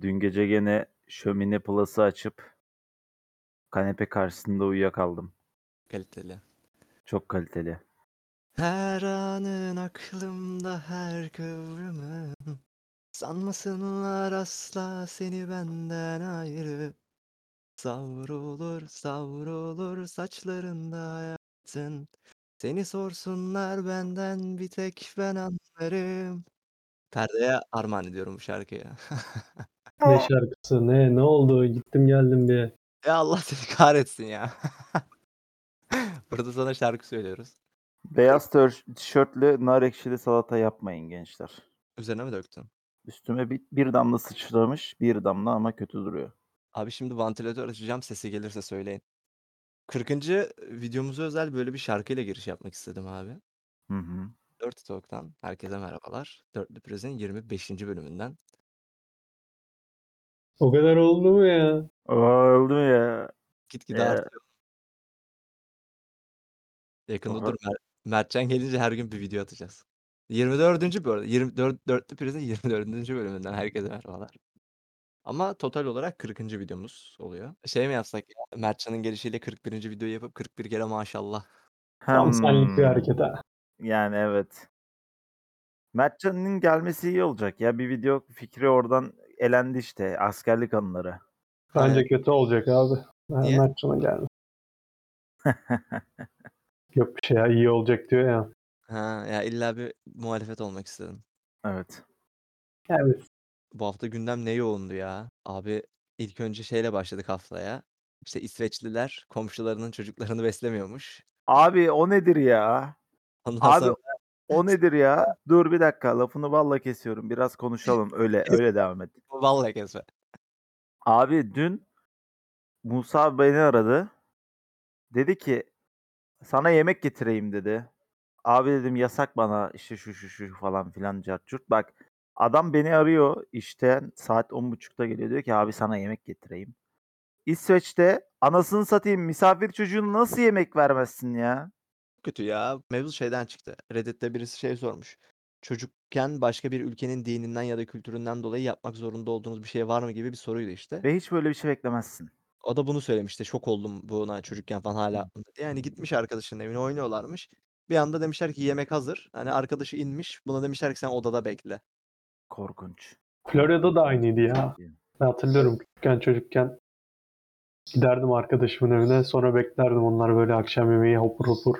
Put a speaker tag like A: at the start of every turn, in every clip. A: Dün gece gene Şömine Plus'ı açıp kanepe karşısında uyuyakaldım.
B: Kaliteli.
A: Çok kaliteli.
B: Her anın aklımda her kıvrımın Sanmasınlar asla seni benden ayrı Savrulur savrulur saçlarında hayatın Seni sorsunlar benden bir tek ben anlarım Perdeye armağan ediyorum bu şarkıyı.
C: Ne şarkısı ne ne oldu gittim geldim diye.
B: Ya Allah seni kahretsin ya. Burada sana şarkı söylüyoruz.
A: Beyaz tör- tişörtlü nar ekşili salata yapmayın gençler.
B: Üzerine mi döktün?
A: Üstüme bir, bir damla sıçramış, bir damla ama kötü duruyor.
B: Abi şimdi vantilatör açacağım sesi gelirse söyleyin. 40. videomuza özel böyle bir şarkıyla giriş yapmak istedim abi.
A: Hı hı.
B: 4 Talk'tan herkese merhabalar. Dörtlü Priz'in 25. bölümünden.
C: O kadar oldu mu ya?
A: Aa, Öldüm ya.
B: Gitgide
A: Ee,
B: artıyor. Yakında
A: oha.
B: dur Mer- Mertcan gelince her gün bir video atacağız. 24. bölüm, 24 Dörtlü Priz'in 24. bölümünden herkese merhabalar. Ama total olarak 40. videomuz oluyor. Şey mi yapsak ya? Mertcan'ın gelişiyle 41. videoyu yapıp 41 kere maşallah.
C: Tam
A: Hmm.
C: senlik bir hareket ha.
A: Yani evet. Mertcan'ın gelmesi iyi olacak ya. Bir video fikri oradan elendi işte. Askerlik anıları.
C: Bence
B: Aynen.
C: kötü olacak abi.
B: Niye?
C: Mertcan'a geldi. Yok bir şey ya iyi olacak diyor ya.
B: Ha, ya illa bir muhalefet olmak istedim.
A: evet.
C: Evet.
B: Bu hafta gündem ne yoğundu ya? Abi ilk önce şeyle başladık haftaya. İşte İsveçliler komşularının çocuklarını beslemiyormuş.
A: Abi o nedir ya?
B: Ondan
A: Abi
B: sonra
A: o nedir ya? Dur bir dakika lafını balla kesiyorum. Biraz konuşalım. Öyle öyle devam et.
B: vallahi kesme.
A: Abi dün Musa beni aradı. Dedi ki sana yemek getireyim dedi. Abi dedim yasak bana işte şu şu şu falan filan cart curt. Bak adam beni arıyor işte saat 10.30'da geliyor diyor ki abi sana yemek getireyim. İsveç'te anasını satayım misafir çocuğuna nasıl yemek vermezsin ya?
B: Kötü ya. Mevzu şeyden çıktı. Reddit'te birisi şey sormuş. Çocukken başka bir ülkenin dininden ya da kültüründen dolayı yapmak zorunda olduğunuz bir şey var mı gibi bir soruydu işte.
A: Ve hiç böyle bir şey beklemezsin.
B: O da bunu söylemişti. Şok oldum buna çocukken falan hala. aklımda diye. Yani gitmiş arkadaşının evine oynuyorlarmış. Bir anda demişler ki yemek hazır. Hani arkadaşı inmiş. Buna demişler ki sen odada bekle.
A: Korkunç.
C: Florya'da da aynıydı ya. Ben hatırlıyorum küçükken çocukken giderdim arkadaşımın evine sonra beklerdim onlar böyle akşam yemeği hopur hopur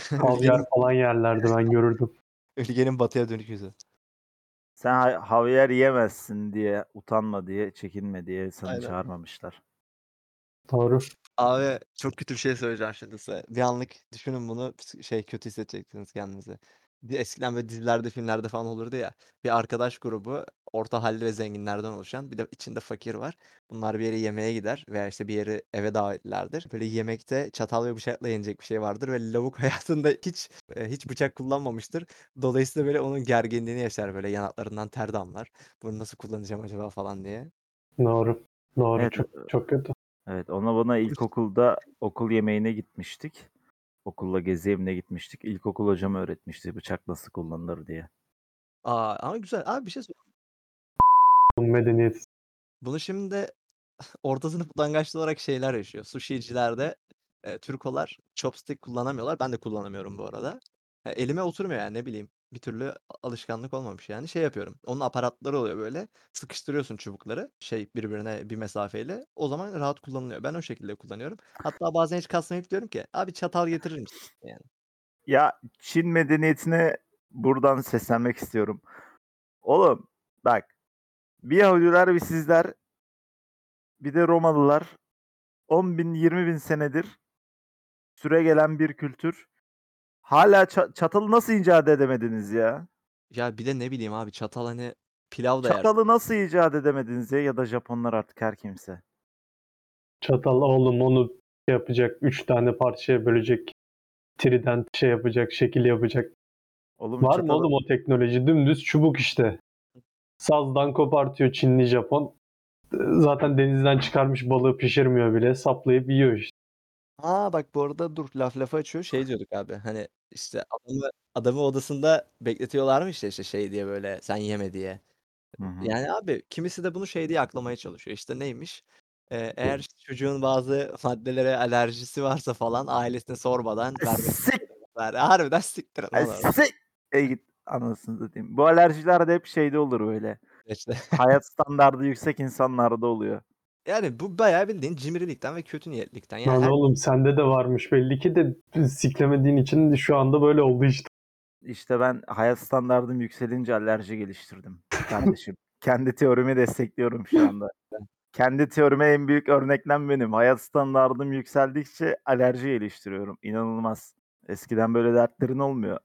B: Ülgenin,
C: kavyar falan yerlerdi ben görürdüm.
B: ülgenin batıya dönük yüzü.
A: Sen ha- havyar yemezsin diye utanma diye çekinme diye seni
B: Aynen.
A: çağırmamışlar.
C: Doğru.
B: Abi çok kötü bir şey söyleyeceğim şimdi size. Bir anlık düşünün bunu psik- şey kötü hissedeceksiniz kendinizi. Bir eskiden böyle dizilerde filmlerde falan olurdu ya. Bir arkadaş grubu orta halli ve zenginlerden oluşan bir de içinde fakir var. Bunlar bir yere yemeğe gider veya işte bir yere eve davetlilerdir. Böyle yemekte çatal ve bıçakla yenecek bir şey vardır ve lavuk hayatında hiç e, hiç bıçak kullanmamıştır. Dolayısıyla böyle onun gerginliğini yaşar böyle yanaklarından ter damlar. Bunu nasıl kullanacağım acaba falan diye.
C: Doğru. Doğru.
A: Evet.
C: Çok, çok kötü.
A: Evet ona bana ilkokulda okul yemeğine gitmiştik. Okulla gezi evine gitmiştik. İlkokul hocam öğretmişti bıçak nasıl kullanılır diye.
B: Aa, ama güzel. Abi bir şey söyleyeyim.
C: Medeniyet.
B: Bunu şimdi de orta sınıf utangaçlı olarak şeyler yaşıyor. Sushi'cilerde e, Türkolar chopstick kullanamıyorlar. Ben de kullanamıyorum bu arada. E, elime oturmuyor yani ne bileyim. Bir türlü a- alışkanlık olmamış yani. Şey yapıyorum. Onun aparatları oluyor böyle. Sıkıştırıyorsun çubukları şey birbirine bir mesafeyle. O zaman rahat kullanılıyor. Ben o şekilde kullanıyorum. Hatta bazen hiç kasmayıp diyorum ki abi çatal getirir misin? Yani.
A: Ya Çin medeniyetine buradan seslenmek istiyorum. Oğlum bak bir Yahudiler bir sizler bir de Romalılar 10 bin 20 bin senedir süre gelen bir kültür. Hala ça- çatalı nasıl icat edemediniz ya?
B: Ya bir de ne bileyim abi çatal hani pilav da yer.
A: Çatalı nasıl icat edemediniz ya? Ya da Japonlar artık her kimse.
C: Çatal oğlum onu şey yapacak. Üç tane parçaya bölecek. Trident şey yapacak. Şekil yapacak.
A: Oğlum
C: Var mı
A: çatalı-
C: oğlum o teknoloji? Dümdüz çubuk işte. Sazdan kopartıyor Çinli Japon. Zaten denizden çıkarmış balığı pişirmiyor bile. Saplayıp yiyor işte.
B: Aa bak bu arada dur laf lafı açıyor şey diyorduk abi hani işte adamı, adamı odasında bekletiyorlarmış ya işte şey diye böyle sen yeme diye.
A: Hı hı.
B: Yani abi kimisi de bunu şey diye aklamaya çalışıyor. İşte neymiş? Ee, eğer işte çocuğun bazı maddelere alerjisi varsa falan ailesine sormadan vermesi
A: Sik-
B: ver. Harbiden siktir. et
A: Ay,
B: oğlum.
A: sik- E git anasını satayım. Bu alerjiler de hep şeyde olur böyle.
B: İşte.
A: Hayat standardı yüksek insanlarda oluyor.
B: Yani bu bayağı bildiğin cimrilikten ve kötü niyetlikten. Yani
C: Lan
B: her-
C: oğlum sende de varmış belli ki de siklemediğin için de şu anda böyle oldu işte.
A: İşte ben hayat standardım yükselince alerji geliştirdim kardeşim. Kendi teorimi destekliyorum şu anda. Kendi teorime en büyük örneklem benim. Hayat standardım yükseldikçe alerji geliştiriyorum. İnanılmaz. Eskiden böyle dertlerin olmuyor.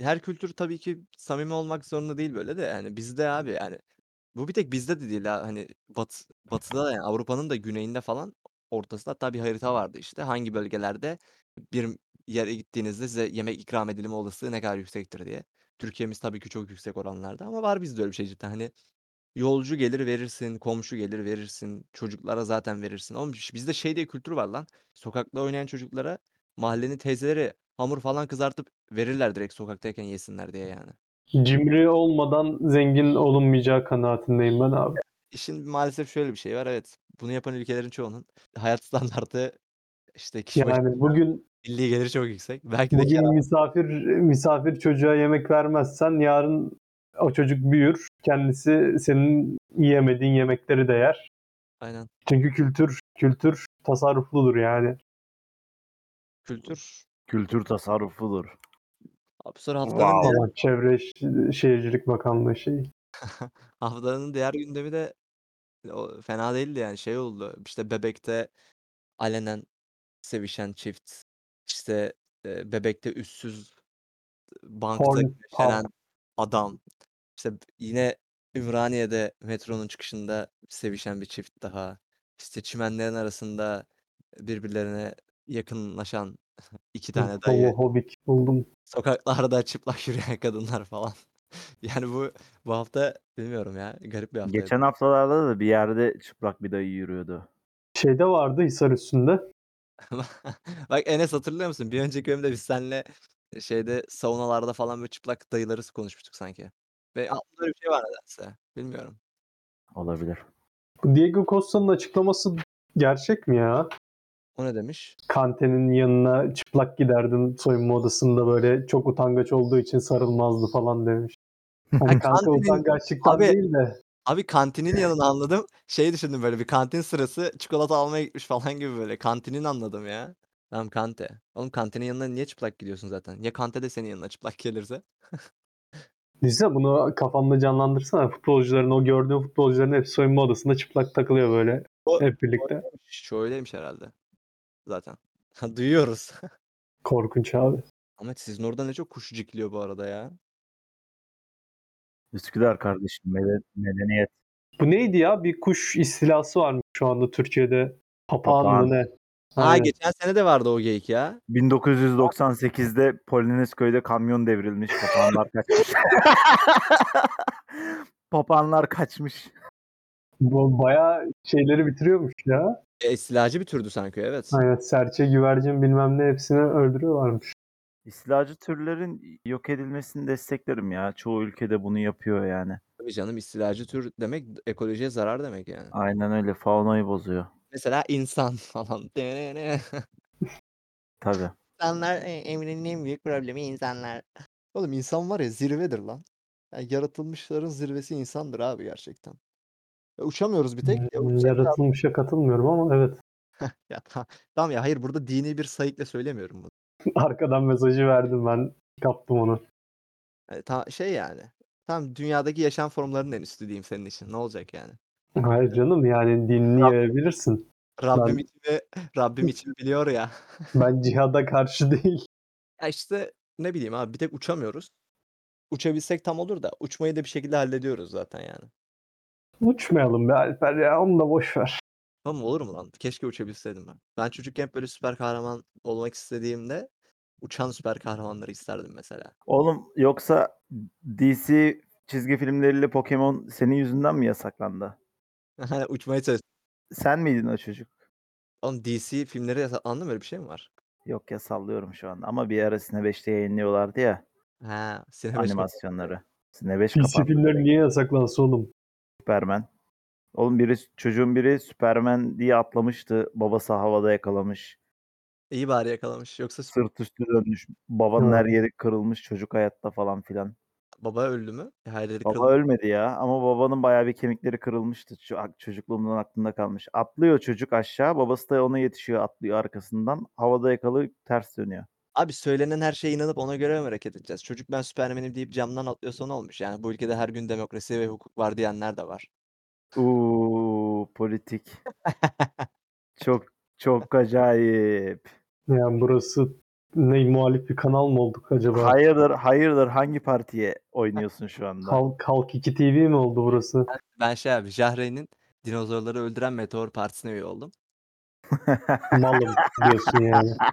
B: her kültür tabii ki samimi olmak zorunda değil böyle de yani bizde abi yani bu bir tek bizde de değil ha hani bat, batıda da yani Avrupa'nın da güneyinde falan ortasında hatta bir harita vardı işte hangi bölgelerde bir yere gittiğinizde size yemek ikram edilme olasılığı ne kadar yüksektir diye. Türkiye'miz tabii ki çok yüksek oranlarda ama var bizde öyle bir şey cidden hani yolcu gelir verirsin, komşu gelir verirsin, çocuklara zaten verirsin. Oğlum ş- bizde şey diye kültür var lan sokakta oynayan çocuklara mahallenin teyzeleri hamur falan kızartıp verirler direkt sokaktayken yesinler diye yani.
C: Cimri olmadan zengin olunmayacağı kanaatindeyim ben abi.
B: İşin maalesef şöyle bir şey var evet. Bunu yapan ülkelerin çoğunun hayat standartı işte kişi başı
C: Yani bugün
B: milli geliri çok yüksek. Belki de
C: bugün misafir misafir çocuğa yemek vermezsen yarın o çocuk büyür. Kendisi senin yiyemediğin yemekleri de yer.
B: aynen
C: Çünkü kültür kültür tasarrufludur yani.
B: kültür.
A: Kültür tasarrufudur.
B: Abi sonra haftanın
C: Wow.
B: diğer,
C: Allah, Çevre Ş- Şehircilik Bakanlığı şey, şeyi.
B: haftanın diğer gündemi de o fena değildi yani şey oldu. İşte bebekte alenen sevişen çift işte e, bebekte üstsüz bankta
C: Porn-
B: güneşlenen adam. İşte yine Ümraniye'de metronun çıkışında sevişen bir çift daha. İşte çimenlerin arasında birbirlerine yakınlaşan iki tane dayı.
C: Hobbit buldum.
B: Sokaklarda çıplak yürüyen kadınlar falan. Yani bu bu hafta bilmiyorum ya garip bir haftaydı.
A: Geçen haftalarda da bir yerde çıplak bir dayı yürüyordu.
C: Şeyde vardı Hisar üstünde.
B: Bak Enes hatırlıyor musun? Bir önceki bölümde biz seninle e, şeyde saunalarda falan böyle çıplak dayıları konuşmuştuk sanki. Ve aklımda öyle bir şey var nedense. Bilmiyorum.
A: Olabilir.
C: Bu Diego Costa'nın açıklaması gerçek mi ya?
B: O ne demiş?
C: Kante'nin yanına çıplak giderdim soyunma odasında böyle çok utangaç olduğu için sarılmazdı falan demiş. Hani
B: Ya
C: Kante
B: Kante'nin-
C: utangaçlıktan
B: Abi-
C: değil de
B: Abi kantinin yanını anladım. Şey düşündüm böyle bir kantin sırası çikolata almaya gitmiş falan gibi böyle. Kantinin anladım ya. Tamam kante. Oğlum kantinin yanına niye çıplak gidiyorsun zaten? Ya kante de senin yanına çıplak gelirse?
C: Düşünsene bunu kafanda canlandırsana. Futbolcuların o gördüğün futbolcuların hepsi soyunma odasında çıplak takılıyor böyle.
B: O-
C: Hep birlikte.
B: Şöyleymiş herhalde. Zaten. Duyuyoruz.
C: Korkunç abi.
B: Ama sizin orada ne çok kuş cikliyor bu arada ya.
A: Üsküdar kardeşim meden- medeniyet.
C: Bu neydi ya? Bir kuş istilası varmış şu anda Türkiye'de. Papağan
A: Papağan.
C: mı ne?
B: Ha
C: Aynen.
B: geçen sene de vardı o geyik ya.
A: 1998'de Polonezköy'de kamyon devrilmiş. Papağanlar kaçmış. Papağanlar kaçmış.
C: Bu bayağı şeyleri bitiriyormuş ya.
B: E, silacı bir türdü sanki evet.
C: Aynen serçe, güvercin bilmem ne hepsini öldürüyorlarmış.
A: İstilacı türlerin yok edilmesini desteklerim ya. Çoğu ülkede bunu yapıyor yani.
B: Tabii canım istilacı tür demek ekolojiye zarar demek yani.
A: Aynen öyle. Faunayı bozuyor.
B: Mesela insan falan.
A: Tabii.
B: İnsanlar e, evrenin en büyük problemi insanlar. Oğlum insan var ya zirvedir lan. Ya yaratılmışların zirvesi insandır abi gerçekten. Ya uçamıyoruz bir tek. Ya uçsak da-
C: Hmm, Yaratılmışa katılmıyorum ama evet.
B: Ya ta- tamam ya hayır burada dini bir sayıkla söylemiyorum bunu.
C: Arkadan mesajı verdim ben. Kaptım onu.
B: Yani ta- şey yani. Tam dünyadaki yaşam formlarının en üstü diyeyim senin için. Ne olacak yani?
C: Hayır canım yani dinini yayabilirsin.
B: Rabbim içimi, Rabbim için biliyor ya.
C: Ben cihada karşı değil.
B: Ya işte ne bileyim abi bir tek uçamıyoruz. Uçabilsek tam olur da uçmayı da bir şekilde hallediyoruz zaten yani.
C: Uçmayalım be Alper ya onu da boş ver.
B: Tamam olur mu lan? Keşke uçabilseydim ben. Ben çocukken hep böyle süper kahraman olmak istediğimde uçan süper kahramanları isterdim mesela.
A: Oğlum yoksa DC çizgi filmleriyle Pokemon senin yüzünden mi yasaklandı?
B: Hani uçmaya çalış.
A: Sen miydin o çocuk?
B: Oğlum DC filmleri yasa- anladın mı öyle bir şey mi var?
A: Yok ya sallıyorum şu an. Ama bir ara Sine 5'te yayınlıyorlardı ya
B: Ha, sinema
A: animasyonları. Sine 5
C: PC
A: kapandı.
C: filmleri niye yasaklansa oğlum?
A: Süpermen. Oğlum biri çocuğun biri Süpermen diye atlamıştı. Babası havada yakalamış.
B: İyi bari yakalamış. Yoksa sü-
A: Sırt üstü dönmüş. Babanın
C: Hı.
A: her yeri kırılmış. Çocuk hayatta falan filan.
B: baba öldü mü? Her yeri
A: Baba
B: kırıldı.
A: ölmedi ya ama babanın bayağı bir kemikleri kırılmıştı. Şu ak- Çocukluğumdan aklımda kalmış. Atlıyor çocuk aşağı. Babası da ona yetişiyor atlıyor arkasından. Havada yakalayıp ters dönüyor.
B: Abi söylenen her şeye inanıp ona göre mi hareket edeceğiz? Çocuk ben Süpermen'im deyip camdan atlıyorsa ne olmuş? Yani bu ülkede her gün demokrasi ve hukuk var diyenler de var.
A: Uuu politik. Çok çok acayip.
C: Yani burası ne muhalif bir kanal mı olduk acaba?
A: Hayırdır hayırdır hangi partiye oynuyorsun şu anda?
C: Halk, Halk 2 TV mi oldu burası?
B: Ben şey abi Jahre'nin dinozorları öldüren meteor partisine üye oldum.
C: Malım diyorsun yani.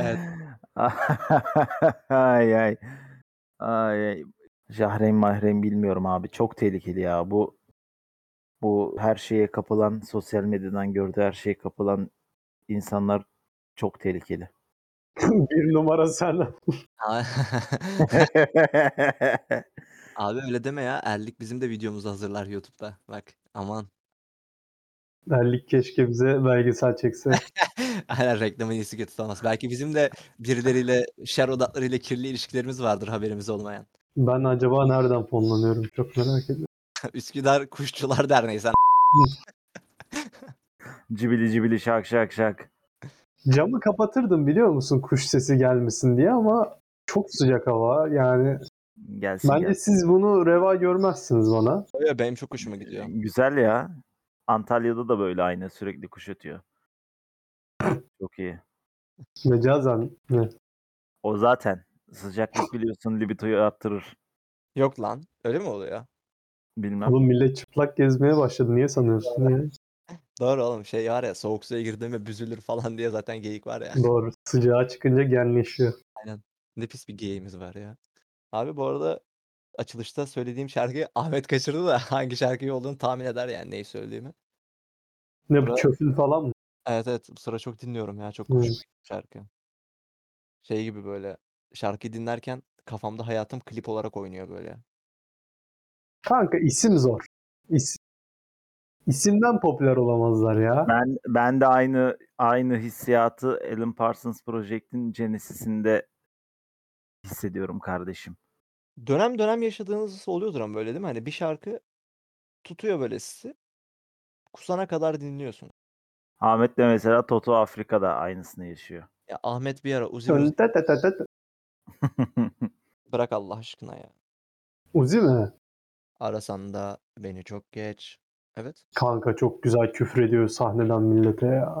B: Evet.
A: ay ay. Ay ay. Jahren mahren bilmiyorum abi. Çok tehlikeli ya. Bu bu her şeye kapılan, sosyal medyadan gördüğü her şeye kapılan insanlar çok tehlikeli.
C: bir numara sen.
B: Ha- Abi öyle deme ya. Erlik bizim de videomuzu hazırlar YouTube'da. Bak aman.
C: Erlik keşke bize belgesel çekse.
B: Aynen reklamın iyisi kötü olmaz. Belki bizim de birileriyle, şer odaklarıyla kirli ilişkilerimiz vardır haberimiz olmayan.
C: Ben acaba nereden fonlanıyorum çok merak ediyorum.
B: Üsküdar Kuşçular Derneği sen.
A: cibili cibili şak şak şak.
C: Camı kapatırdım biliyor musun kuş sesi gelmesin diye ama çok sıcak hava yani.
A: Gelsin
C: Bence
A: gelsin.
C: siz bunu reva görmezsiniz bana.
B: Öyle benim çok hoşuma gidiyor.
A: Güzel ya. Antalya'da da böyle aynı sürekli kuş ötüyor. Çok iyi.
C: Mecazen mi?
A: O zaten sıcaklık biliyorsun libidoyu arttırır.
B: Yok lan. Öyle mi oluyor?
A: Bilmem.
C: Oğlum millet çıplak gezmeye başladı niye sanıyorsun ya?
B: Doğru oğlum şey var ya soğuk suya girdiğimde büzülür falan diye zaten geyik var ya.
C: Doğru sıcağa çıkınca genleşiyor.
B: Ne pis bir geyiğimiz var ya. Abi bu arada açılışta söylediğim şarkıyı Ahmet kaçırdı da hangi şarkıyı olduğunu tahmin eder yani neyi söylediğimi.
C: Ne bu
B: Bra-
C: çöpül falan mı?
B: Evet evet bu sıra çok dinliyorum ya çok
C: Hmm.
B: hoşuma gitti şarkı. Şey gibi böyle şarkıyı dinlerken kafamda hayatım klip olarak oynuyor böyle.
C: Kanka isim zor. İs İsimden popüler olamazlar ya.
A: Ben ben de aynı aynı hissiyatı Alan Parsons Project'in Genesis'inde hissediyorum kardeşim.
B: Dönem dönem yaşadığınız oluyordur ama böyle değil mi? Hani bir şarkı tutuyor böyle sizi. Kusana kadar dinliyorsun.
A: Ahmet de mesela Toto Afrika'da aynısını yaşıyor.
B: Ya Ahmet bir ara Uzi Uzi
C: Tön- tet- tet- tet- tet.
B: bırak Allah aşkına ya.
C: Uzi mi?
B: Arasan da beni çok geç. Evet.
C: Kanka çok güzel küfür ediyor sahneden millete ya.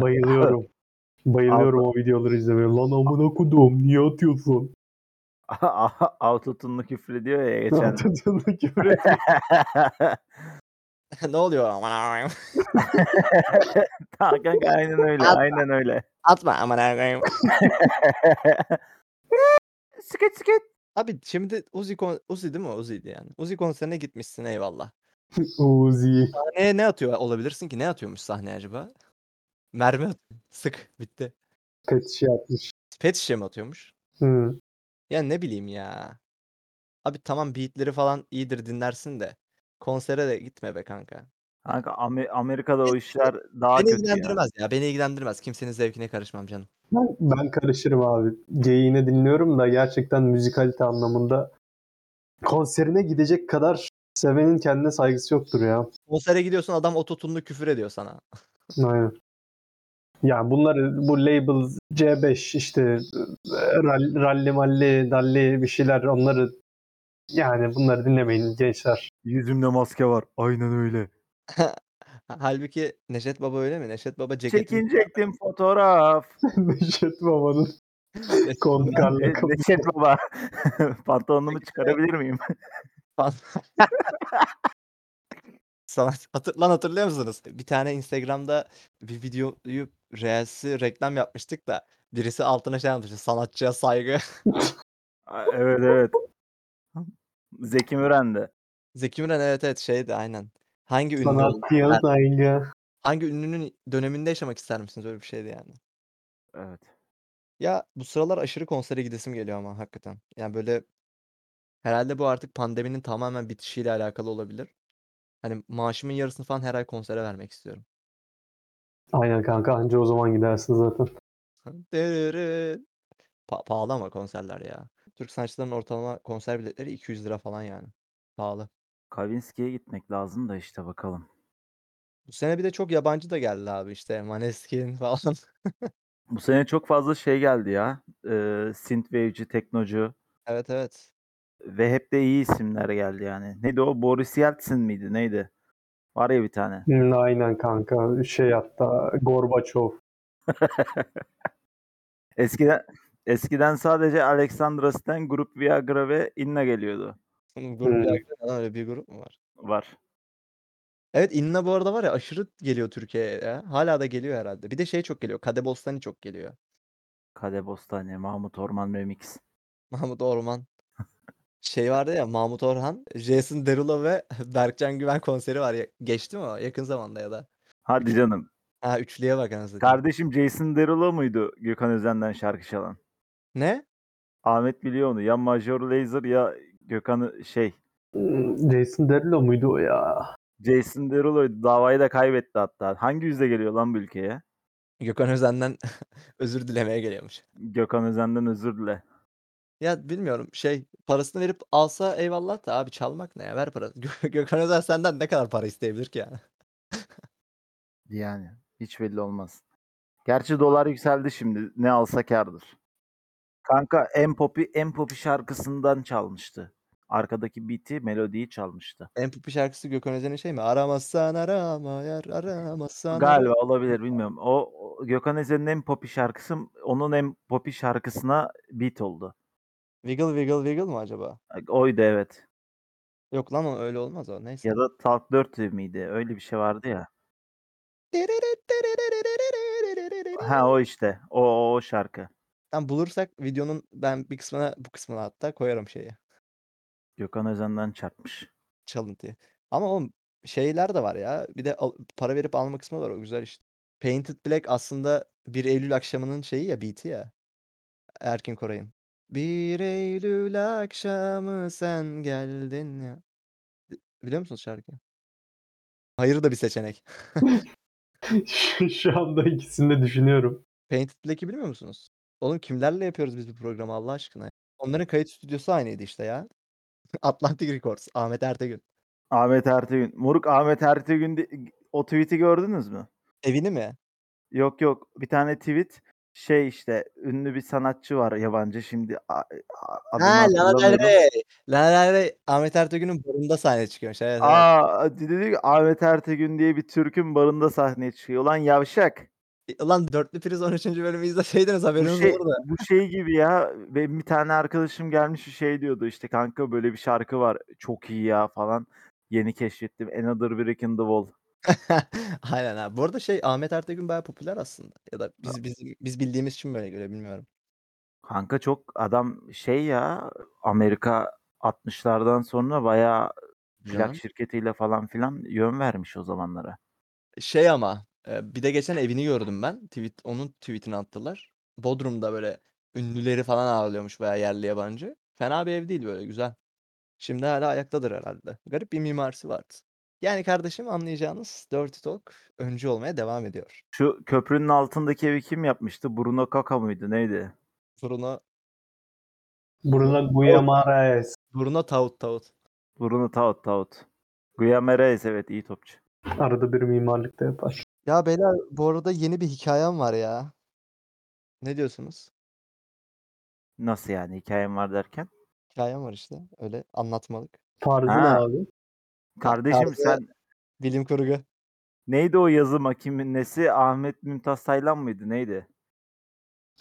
C: Bayılıyorum. Bayılıyorum o videoları izlemeye. Lan amına kudum niye atıyorsun?
A: Autotune'lu küfrediyor ya geçen.
C: Atıyorsun küfür ediyor.
B: ne oluyor? Aman Allah'ım.
A: Ta kanka aynen öyle. Aynen öyle.
B: Atma aman Allah'ım.
A: Skit skit.
B: Abi şimdi Uzi, kon- Uzi değil mi? Uzi'ydi yani. Uzi konserine gitmişsin eyvallah.
C: Uzi.
B: Sahneye ne atıyor olabilirsin ki? Ne atıyormuş sahneye acaba? Mermi atıyor. Sık. Bitti.
C: Pet şey yapmış.
B: Pet şişe mi atıyormuş?
C: Hı.
B: Ya ne bileyim ya. Abi tamam beatleri falan iyidir dinlersin de. Konsere de gitme be kanka.
A: Kanka Amer- Amerika'da o işler daha
B: Beni
A: kötü ya.
B: ilgilendirmez ya. Beni ilgilendirmez. Kimsenin zevkine karışmam canım.
C: Ben, ben karışırım abi. Geyiğini dinliyorum da gerçekten müzikalite anlamında konserine gidecek kadar sevenin kendine saygısı yoktur ya.
B: Konsere gidiyorsun adam ototunlu küfür ediyor sana.
C: Aynen. Yani bunları bu label C5 işte e, ral- ralli malli dalli bir şeyler onları yani bunları dinlemeyin gençler.
A: Yüzümde maske var. Aynen öyle.
B: Halbuki Neşet Baba öyle mi? Neşet Baba ceketini
A: Çekinecektim fotoğraf.
C: Neşet Baba'nın konkarla
A: Ne- Neşet Baba. Pantolonumu çıkarabilir miyim?
B: Fan- Sana hatır, lan hatırlıyor musunuz? Bir tane Instagram'da bir videoyu Reels'i reklam yapmıştık da birisi altına şey yazmıştı. Sanatçıya saygı.
A: Aa, evet evet. Zeki Müren de.
B: Zeki Müren evet evet şeydi aynen. Hangi ünlü olmak
C: sanatçıya
B: ister-
C: saygı.
B: hangi ünlünün döneminde yaşamak ister misiniz? Öyle bir şeydi yani.
A: Evet.
B: Ya bu sıralar aşırı konsere gidesim geliyor ama hakikaten. Yani böyle Herhalde bu artık pandeminin tamamen bitişiyle alakalı olabilir. Hani maaşımın yarısını falan her ay konsere vermek istiyorum.
C: Aynen kanka anca o zaman gidersin zaten.
B: Dırırı. Pa- pahalı ama konserler ya. Türk sanatçıların ortalama konser biletleri 200 lira falan yani. Pahalı.
A: Kavinski'ye gitmek lazım da işte bakalım.
B: Bu sene bir de çok yabancı da geldi abi işte Maneskin falan.
A: Bu sene çok fazla şey geldi ya. Ee, Synthwave'ci, teknocu
B: Evet evet.
A: ve hep de iyi isimler geldi yani. Neydi o? Boris Yeltsin miydi? Neydi? Var ya bir tane.
C: Hmm, Aynen kanka şey hatta Gorbaçov.
A: Eskiden eskiden sadece Alexandra Stan, Grup Viagra ve Inna geliyordu.
B: Bunun
C: Hmm.
B: grup hmm. öyle bir grup mu var?
A: Var.
B: Evet Inna bu arada var ya aşırı geliyor Türkiye'ye. ya. Hala da geliyor herhalde. Bir de şey çok geliyor. Kade Bostani çok geliyor.
A: Kade Bostani, Mahmut Orman Remix.
B: Mahmut Orman. Şey vardı ya Mahmut Orhan, Jason Derulo ve Berkcan Güven konseri var. ya- Geçti mi o? Yakın zamanda ya da.
A: Hadi canım.
B: Ha üçlüye bak anasını satayım.
A: Kardeşim Jason Derulo muydu Gökhan Özen'den şarkı çalan?
B: Ne?
A: Ahmet biliyor onu. Ya Major Lazer ya Gökhan şey.
C: Hmm, Jason Derulo muydu o ya?
A: Jason Derulo davayı da kaybetti hatta. Hangi yüzle geliyor lan bu ülkeye?
B: Gökhan Özen'den özür dilemeye geliyormuş.
A: Gökhan Özen'den özür dile.
B: Ya bilmiyorum şey parasını verip alsa eyvallah da abi çalmak ne ya ver parasını. Gö- Gökhan Özen senden ne kadar para isteyebilir ki yani?
A: Yani hiç belli olmaz. Gerçi dolar yükseldi şimdi. Ne alsa kârdır. Kanka en popi en popi şarkısından çalmıştı. Arkadaki beat'i, melodiyi çalmıştı.
B: En popi şarkısı Gökhan Özen'in şey mi? Aramazsan arama yar aramazsan ara-
A: Galiba olabilir bilmiyorum. O, o Gökhan Özen'in en popi şarkısı onun en popi şarkısına beat oldu.
B: Wiggle wiggle wiggle mı acaba?
A: Oydu evet.
B: Yok lan o öyle olmaz o neyse.
A: Ya da Talk 4 miydi? Öyle bir şey vardı ya. Ha o işte. O o, o şarkı.
B: Tam bulursak videonun ben bir kısmına bu kısmına hatta koyarım şeyi.
A: Gökhan Özen'den çarpmış.
B: çalıntıyı. Ama oğlum şeyler de var ya. Bir de al- para verip alma kısmı var o güzel işte. Painted Black aslında 1 Eylül akşamının şeyi ya beat'i ya. Erkin Koray'ın. 1 Eylül akşamı sen geldin ya. Bi- Biliyor musunuz şarkıyı? Hayır da bir seçenek.
C: Şu- Şu anda ikisini de düşünüyorum.
B: Painted Black'i bilmiyor musunuz? Oğlum kimlerle yapıyoruz biz bu programı Allah aşkına? ya? Onların kayıt stüdyosu aynıydı işte ya. Atlantic Records, Ahmet Ertegün.
A: Ahmet Ertegün. Moruk Ahmet Ertegün de- o tweet'i gördünüz mü?
B: Evini mi?
A: Yok yok bir tane tweet şey işte ünlü bir sanatçı var yabancı şimdi a- e, a- adını
B: Ha Lana Del
A: hatırlamıyorum.
B: Rey. Lana Del Rey Ahmet Ertuğrul'un barında sahneye çıkıyormuş. Evet, evet.
A: Aa dedi ki Ahmet Ertegün diye bir Türk'ün barında sahneye çıkıyor. Ulan yavşak.
B: E, Ulan Dörtlü Priz 13. bölümü izleseydiniz
A: Bu
B: haberiniz
A: şey,
B: olurdu.
A: bu şey gibi ya. Benim bir tane arkadaşım gelmiş bir şey diyordu işte kanka böyle bir şarkı var. Çok iyi ya falan. Yeni keşfettim. Another Brick in the Wall.
B: Aynen abi. Bu arada şey Ahmet Ertegün bayağı popüler aslında. Ya da biz biz, biz bildiğimiz için böyle göre bilmiyorum.
A: Kanka çok adam şey ya Amerika 60'lardan sonra bayağı plak
B: Canım.
A: şirketiyle falan filan yön vermiş o zamanlara.
B: Şey ama e, bir de geçen evini gördüm ben. Tweet, onun tweetini attılar. Bodrum'da böyle ünlüleri falan ağırlıyormuş bayağı yerli yabancı. Fena bir ev değil böyle güzel. Şimdi hala ayaktadır herhalde. Garip bir mimarisi vardı. Yani kardeşim anlayacağınız Dirty Talk öncü olmaya devam ediyor.
A: Şu köprünün altındaki evi kim yapmıştı? Bruno Kaka mıydı? Neydi?
B: Bruno,
C: Bruno Guimaraes.
B: Bruno Taut Taut.
A: Bruno Taut Taut. Guillaume Reyes evet iyi topçu.
C: Arada bir mimarlık da yapar.
B: Ya beyler bu arada yeni bir hikayem var ya. Ne diyorsunuz?
A: Nasıl yani hikayem var derken?
B: Hikayem var işte. Öyle anlatmalık.
C: Tarzı ne
A: Ha.
C: abi?
A: Kardeşim
B: tarzı-
A: sen
B: Bilim kurgu.
A: neydi o yazı makinesi? Ahmet Mümtaz Taylan mıydı? Neydi?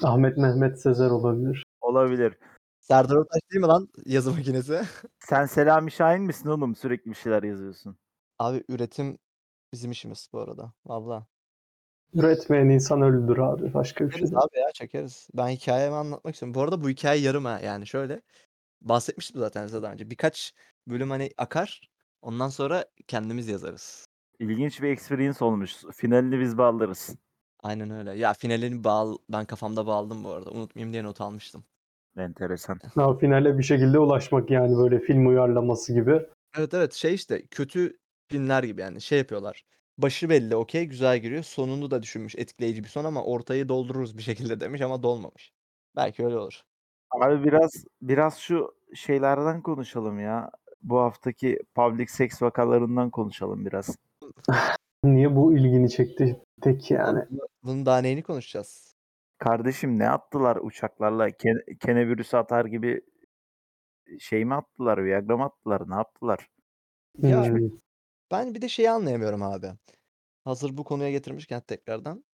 C: Ahmet Mehmet Sezer olabilir.
A: Olabilir.
B: Serdar Ortaç değil mi lan yazı makinesi?
A: Sen Selami Şahin misin oğlum? Sürekli bir şeyler yazıyorsun.
B: Abi üretim bizim işimiz bu arada. Valla.
C: Üretmeyen insan ölüdür abi. Başka bir şey
B: Çekeriz
C: değil.
B: abi ya çekeriz. Ben hikayemi anlatmak istiyorum. Bu arada bu hikaye yarım ha yani şöyle. Bahsetmiştim zaten size daha önce. Birkaç bölüm hani akar. Ondan sonra kendimiz yazarız.
A: İlginç bir experience olmuş. Finalini biz bağlarız.
B: Aynen öyle. Ya finalini bağl ben kafamda bağladım bu arada. Unutmayayım diye not almıştım.
A: Enteresan.
C: Ha, finale bir şekilde ulaşmak yani böyle film uyarlaması gibi.
B: Evet evet şey işte kötü filmler gibi yani şey yapıyorlar. Başı belli okey güzel giriyor. Sonunu da düşünmüş etkileyici bir son ama ortayı doldururuz bir şekilde demiş ama dolmamış. Belki öyle olur.
A: Abi biraz biraz şu şeylerden konuşalım ya. Bu haftaki public sex vakalarından konuşalım biraz.
C: Niye bu ilgini çekti tek yani?
B: Bunun daha neyini konuşacağız?
A: Kardeşim ne attılar uçaklarla? Ke- kenevirüsü atar gibi şey mi attılar? Viagra mı attılar? Ne yaptılar?
B: Ya
C: Hmm.
B: Ben bir de şeyi anlayamıyorum abi. Hazır bu konuya getirmişken tekrardan.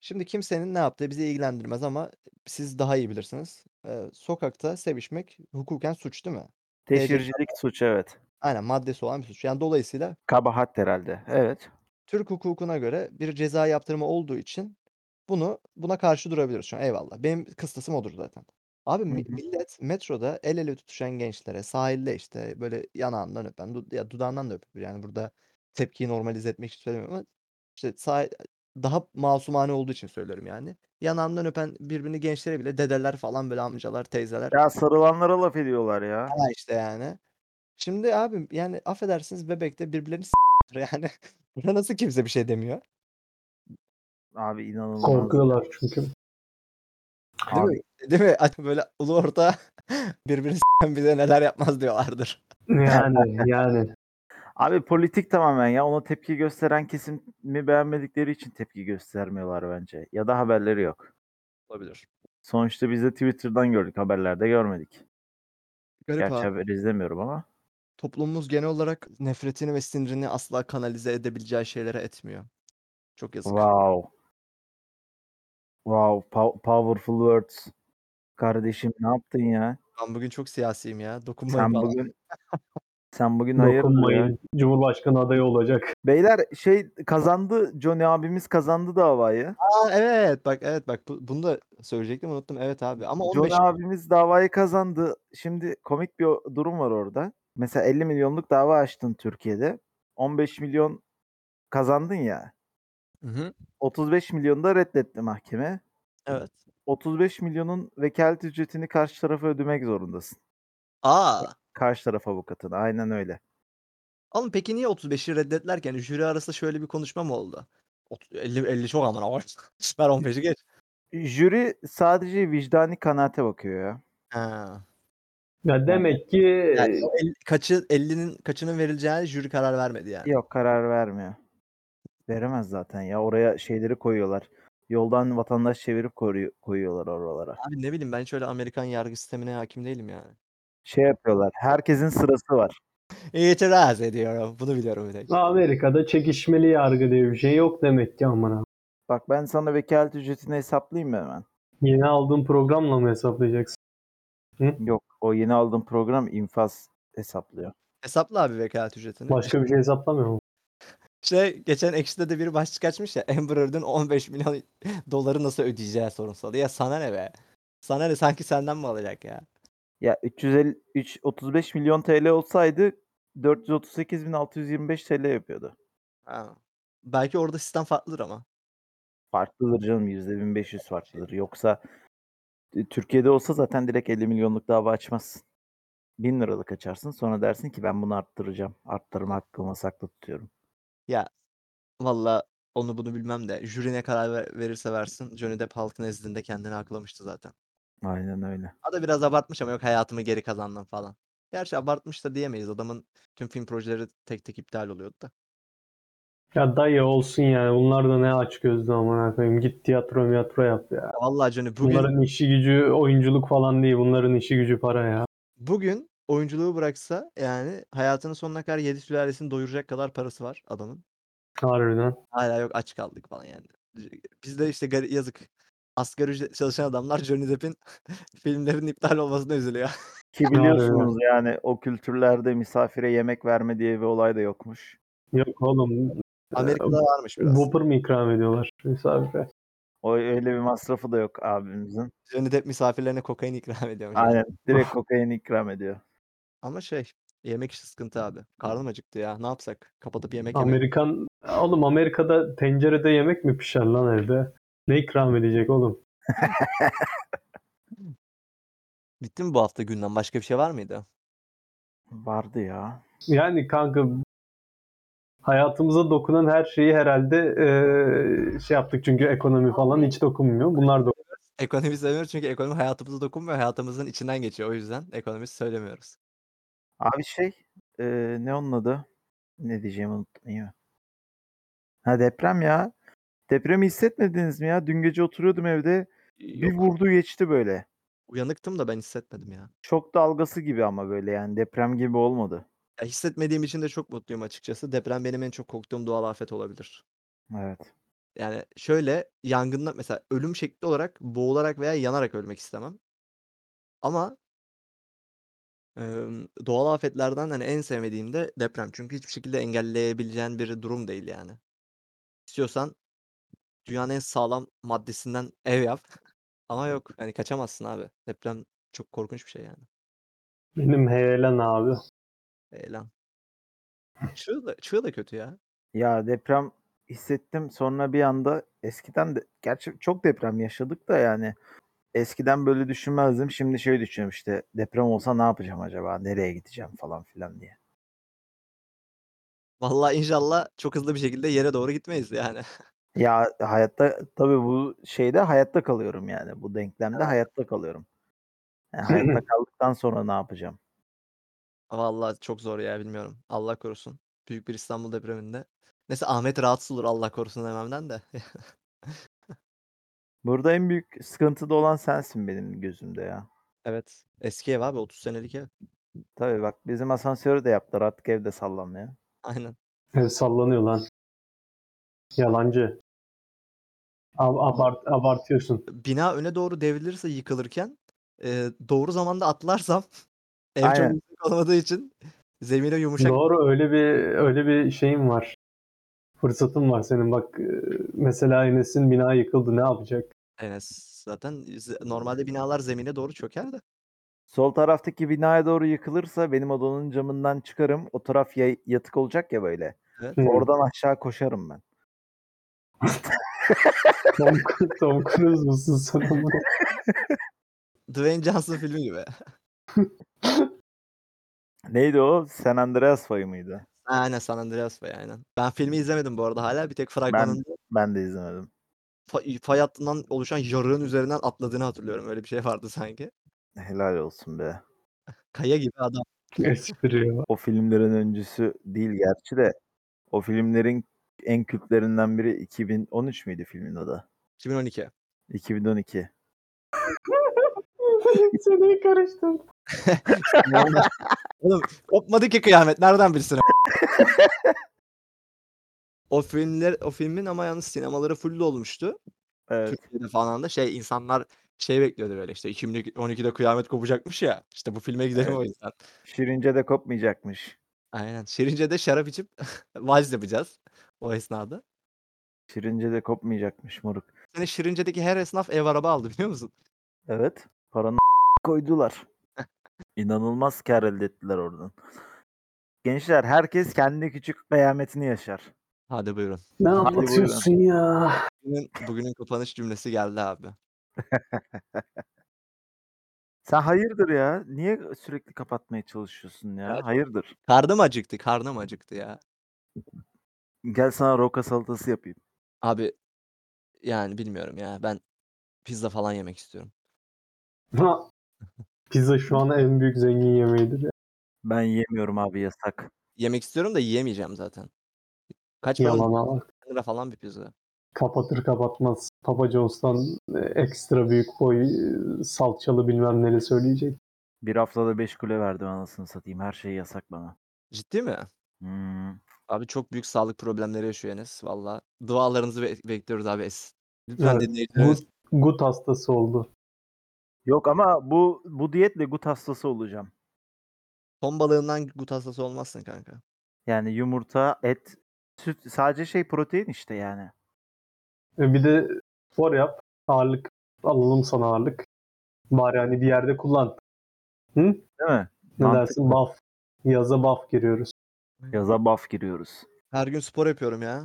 B: Şimdi kimsenin ne yaptığı bizi ilgilendirmez ama siz daha iyi bilirsiniz. Ee, sokakta sevişmek hukuken suç değil mi?
A: Teşhircilik suç evet.
B: Aynen maddesi olan bir suç. Yani dolayısıyla
A: Kabahat herhalde. Evet.
B: Türk hukukuna göre bir ceza yaptırımı olduğu için bunu buna karşı durabiliriz şu an. Eyvallah. Benim kıstasım odur zaten. Abi mi-
A: hı.
B: millet metroda el ele tutuşan gençlere sahilde işte böyle yanağından öpen du- ya dudağından da öpüyor. Yani burada tepkiyi normalize etmek için söylemiyorum ama işte sah- daha masumane olduğu için söylüyorum yani. Yanağından öpen birbirini gençlere bile dedeler falan böyle amcalar, teyzeler.
A: Ya sarılanlara laf ediyorlar ya.
B: Ha işte yani. Şimdi abi yani affedersiniz bebekte birbirlerini s- yani. Buna nasıl kimse bir şey demiyor?
A: Abi inanılmaz.
C: Korkuyorlar çünkü.
B: Değil
A: Abi,
B: mi? Değil mi? Aç- Böyle ulu orta birbirini s**en bize neler yapmaz diyorlardır.
C: Yani yani.
A: abi politik tamamen ya. Ona tepki gösteren kesimi beğenmedikleri için tepki göstermiyorlar bence. Ya da haberleri yok.
B: Olabilir.
A: Sonuçta biz de Twitter'dan gördük. Haberlerde görmedik.
B: Garip
A: Gerçi
B: abi.
A: haber izlemiyorum ama.
B: Toplumumuz genel olarak nefretini ve sinirini asla kanalize edebileceği şeylere etmiyor. Çok yazık.
A: Wow. Wow. pow- powerful words. Kardeşim ne yaptın ya?
B: Ben bugün çok siyasiyim ya. Dokunmayın
A: Sen
B: bana.
A: bugün sen bugün hayırdır ya?
C: Dokunmayın. Cumhurbaşkanı adayı olacak.
A: Beyler şey kazandı Johnny abimiz kazandı davayı.
B: Aa, evet bak evet bak bu- bunu da söyleyecektim unuttum. Evet abi ama 15
A: Johnny abimiz davayı kazandı. Şimdi komik bir o- durum var orada. Mesela 50 milyonluk dava açtın Türkiye'de. 15 milyon kazandın ya.
B: Hı hı,
A: 35 milyonu da reddetti mahkeme.
B: Evet.
A: 35 milyonun vekalet ücretini karşı tarafa ödemek zorundasın.
B: Aa.
A: Karşı taraf avukatına. Aynen öyle.
B: Oğlum peki niye 35'i reddetlerken jüri arasında şöyle bir konuşma mı oldu? Ot- 50, 50 çok aman aman. Ver 15'i geç.
A: Jüri sadece vicdani kanaate bakıyor ya.
B: Ha.
C: Ya demek ki e,
B: Yani o el- kaçı 50'nin kaçının verileceği jüri karar vermedi yani.
A: Yok karar vermiyor. Veremez zaten ya. Oraya şeyleri koyuyorlar. Yoldan vatandaş çevirip koruyor- koyuyorlar oralara.
B: Abi ne bileyim ben şöyle Amerikan yargı sistemine hakim değilim yani.
A: Şey yapıyorlar. Herkesin sırası var.
B: İtiraz ediyorum. Bunu biliyorum bir tek.
C: Amerika'da çekişmeli yargı diye bir şey yok demek ki aman abi.
A: Bak ben sana vekalet ücretini hesaplayayım mı hemen?
C: Yeni aldığın programla mı hesaplayacaksın?
A: Yok. O yeni aldığım program infaz hesaplıyor.
B: Hesapla abi vekalet ücretini.
C: Başka bir şey hesaplamıyor mu?
B: Şey geçen ekşide de biri başlık açmış ya Amber Heard'ın 15 milyon doları nasıl ödeyeceği sorunsalı. Ya sana ne be? Sana ne sanki senden mi alacak ya?
A: Ya 350 3 35 milyon TL olsaydı 438.625 TL yapıyordu.
B: Ha. Belki orada sistem farklıdır ama.
A: Farklıdır canım %1500 farklıdır. Yoksa e, Türkiye'de olsa zaten direkt 50 milyonluk dava açmazsın. 1000 liralık açarsın sonra dersin ki ben bunu arttıracağım. Arttırma hakkımı saklı tutuyorum.
B: Valla onu bunu bilmem de jüri ne karar ver- verirse versin Johnny Depp halkın nezdinde kendini aklamıştı zaten.
A: Aynen öyle.
B: O da biraz abartmış ama yok hayatımı geri kazandım falan. Gerçi abartmış da diyemeyiz. Adamın tüm film projeleri tek tek iptal oluyordu da.
C: Ya dayı olsun yani. Bunlar da ne aç gözlü aman koyayım. Git tiyatro miyatro yap ya.
B: Ya Vallahi Johnny bugün
C: Bunların işi gücü oyunculuk falan değil. Bunların işi gücü para ya.
B: bugün oyunculuğu bıraksa yani hayatının sonuna kadar yedi sülalesini doyuracak kadar parası var adamın.
C: Harbiden.
B: Hala yok aç kaldık falan yani. Biz de işte gari- yazık. Asgari ücret çalışan adamlar Johnny Depp'in filmlerin iptal olmasına üzülüyor.
A: Ki
C: öyle.
A: biliyorsunuz yani o kültürlerde misafire yemek verme diye bir olay da yokmuş.
C: Yok oğlum. E,
B: Amerika'da varmış biraz.
C: Whopper mı ikram ediyorlar misafire?
A: O öyle bir masrafı da yok abimizin.
B: Johnny Depp misafirlerine kokain ikram ediyormuş.
A: Aynen direkt kokain ikram ediyor.
B: Ama şey yemek işi sıkıntı abi. Karnım acıktı ya. Ne yapsak? Kapatıp yemek yemek.
C: Amerikan oğlum Amerika'da tencerede yemek mi pişer lan evde? Ne ikram edecek oğlum?
B: Bitti mi bu hafta günden? Başka bir şey var mıydı?
A: Vardı ya.
C: Yani kanka hayatımıza dokunan her şeyi herhalde eee, şey yaptık çünkü ekonomi falan hiç dokunmuyor. Bunlar da
B: Ekonomi sevmiyoruz çünkü ekonomi hayatımıza dokunmuyor. Hayatımızın içinden geçiyor. O yüzden ekonomi söylemiyoruz.
A: Abi şey e, ne onun adı? Ne diyeceğimi unuttum. iyi mi? Ha deprem ya. Depremi hissetmediniz mi ya? Dün gece oturuyordum evde. Bir
B: Yok.
A: vurdu geçti böyle.
B: Uyanıktım da ben hissetmedim ya.
A: Çok dalgası gibi ama böyle yani deprem gibi olmadı.
B: Ya hissetmediğim için de çok mutluyum açıkçası. Deprem benim en çok korktuğum doğal afet olabilir.
A: Evet.
B: Yani şöyle yangında mesela ölüm şekli olarak boğularak veya yanarak ölmek istemem. Ama em, doğal afetlerden hani en sevmediğim de deprem. Çünkü hiçbir şekilde engelleyebileceğin bir durum değil yani. İstiyorsan dünyanın en sağlam maddesinden ev yap. Ama yok hani kaçamazsın abi. Deprem çok korkunç bir şey yani.
C: benim heyelan abi.
B: Eylem. Çığ da, çığ da kötü ya.
A: Ya deprem hissettim sonra bir anda eskiden de gerçi çok deprem yaşadık da yani eskiden böyle düşünmezdim. Şimdi şey düşünüyorum işte deprem olsa ne yapacağım acaba? Nereye gideceğim falan filan diye.
B: Vallahi inşallah çok hızlı bir şekilde yere doğru gitmeyiz yani.
A: Ya hayatta tabii bu şeyde hayatta kalıyorum yani. Bu denklemde hayatta kalıyorum. Yani hayatta kaldıktan sonra ne yapacağım?
B: Vallahi çok zor ya bilmiyorum. Allah korusun. Büyük bir İstanbul depreminde. Neyse Ahmet rahatsız olur Allah korusun dememden de.
A: Burada en büyük sıkıntıda olan sensin benim gözümde ya.
B: Evet. Eski ev abi 30 senelik ev.
A: Tabii bak bizim asansörü de yaptılar artık evde sallanmıyor.
B: Aynen.
C: Ev E, sallanıyor lan. Yalancı. Ab- abart abartıyorsun.
B: Bina öne doğru devrilirse yıkılırken e, doğru zamanda atlarsam ev çok
A: Aynen.
B: yüksek olmadığı için zemine yumuşak.
C: Doğru öyle bir öyle bir şeyin var. Fırsatın var senin bak e, mesela Enes'in bina yıkıldı ne yapacak?
B: Enes zaten ze- normalde binalar zemine doğru çöker de.
A: Sol taraftaki binaya doğru yıkılırsa benim odanın camından çıkarım. O taraf ya- yatık olacak ya böyle.
B: Evet.
C: Hı.
A: Oradan aşağı koşarım ben.
C: Tom, Tom Cruise musun sen? amına?
B: Dwayne Johnson filmi gibi.
A: Neydi o? San Andreas Fay mıydı?
B: Aynen San Andreas Bey aynen. Ben filmi izlemedim bu arada hala. Bir tek fragmanın
A: Ben de izlemedim.
B: fa- fay hattından oluşan yarığın üzerinden atladığını hatırlıyorum. Öyle bir şey vardı sanki.
A: Helal olsun be.
B: Kaya gibi adam.
C: Espri ya.
A: O filmlerin öncüsü değil gerçi de o filmlerin en kültlerinden biri 2013 müydü filmin adı?
B: 2012.
A: 2012.
C: Seneyi karıştırdım.
B: Oğlum kopmadı ki kıyamet. Nereden bilsin? a- o filmler o filmin ama yalnız sinemaları full olmuştu.
A: Evet.
B: Türkiye'de falan da şey insanlar şey bekliyordu böyle işte 2012'de kıyamet kopacakmış ya. İşte bu filme gidelim
A: Evet.
B: o yüzden.
A: Şirince de kopmayacakmış.
B: Aynen. Şirince'de şarap içip vals yapacağız o esnada.
A: Şirince de kopmayacakmış moruk.
B: Yani Şirince'deki her esnaf ev araba aldı biliyor musun?
A: Evet. Paranı koydular. İnanılmaz kar elde ettiler oradan. Gençler herkes kendi küçük kıyametini yaşar.
B: Hadi buyurun.
C: Ne
A: Hadi
C: anlatıyorsun ya?
B: Bugünün, bugünün kapanış cümlesi geldi abi.
A: Sen hayırdır ya? Niye sürekli kapatmaya çalışıyorsun ya?
B: Evet.
A: Hayırdır.
B: Karnım acıktı, karnım acıktı ya.
A: Gel sana roka salatası yapayım.
B: Abi yani bilmiyorum ya. Ben pizza falan yemek istiyorum.
C: Ha. Pizza şu an en büyük zengin yemeğidir. ya.
A: Ben yemiyorum abi yasak.
B: Yemek istiyorum da yiyemeyeceğim zaten. Kaç para?
C: Yalana bak.
B: 10 lira falan bir pizza.
C: Kapatır kapatmaz Papa John's'tan e, ekstra büyük boy e, salçalı bilmem neli söyleyecek.
A: Bir haftada 5 kule verdim anasını satayım. Her şey yasak bana.
B: Ciddi mi?
A: Hmm.
B: Abi çok büyük sağlık problemleri yaşıyor Enes. Valla dualarınızı be- bekliyoruz abi. Es. Lütfen
C: Evet,
B: dinleyicilerimiz-
C: Gut hastası oldu.
A: Yok ama bu bu diyetle gut hastası olacağım.
B: Ton balığından gut hastası olmazsın kanka.
A: Yani yumurta, et, süt sadece şey protein işte yani.
C: E, Bir de spor yap. Ağırlık alalım sana ağırlık. Bari hani bir yerde kullan.
A: Değil mi?
C: Ne
A: Mantıklı.
C: dersin? Buff. Yaza buff giriyoruz.
A: Yaza buff giriyoruz.
B: Her gün spor yapıyorum ya.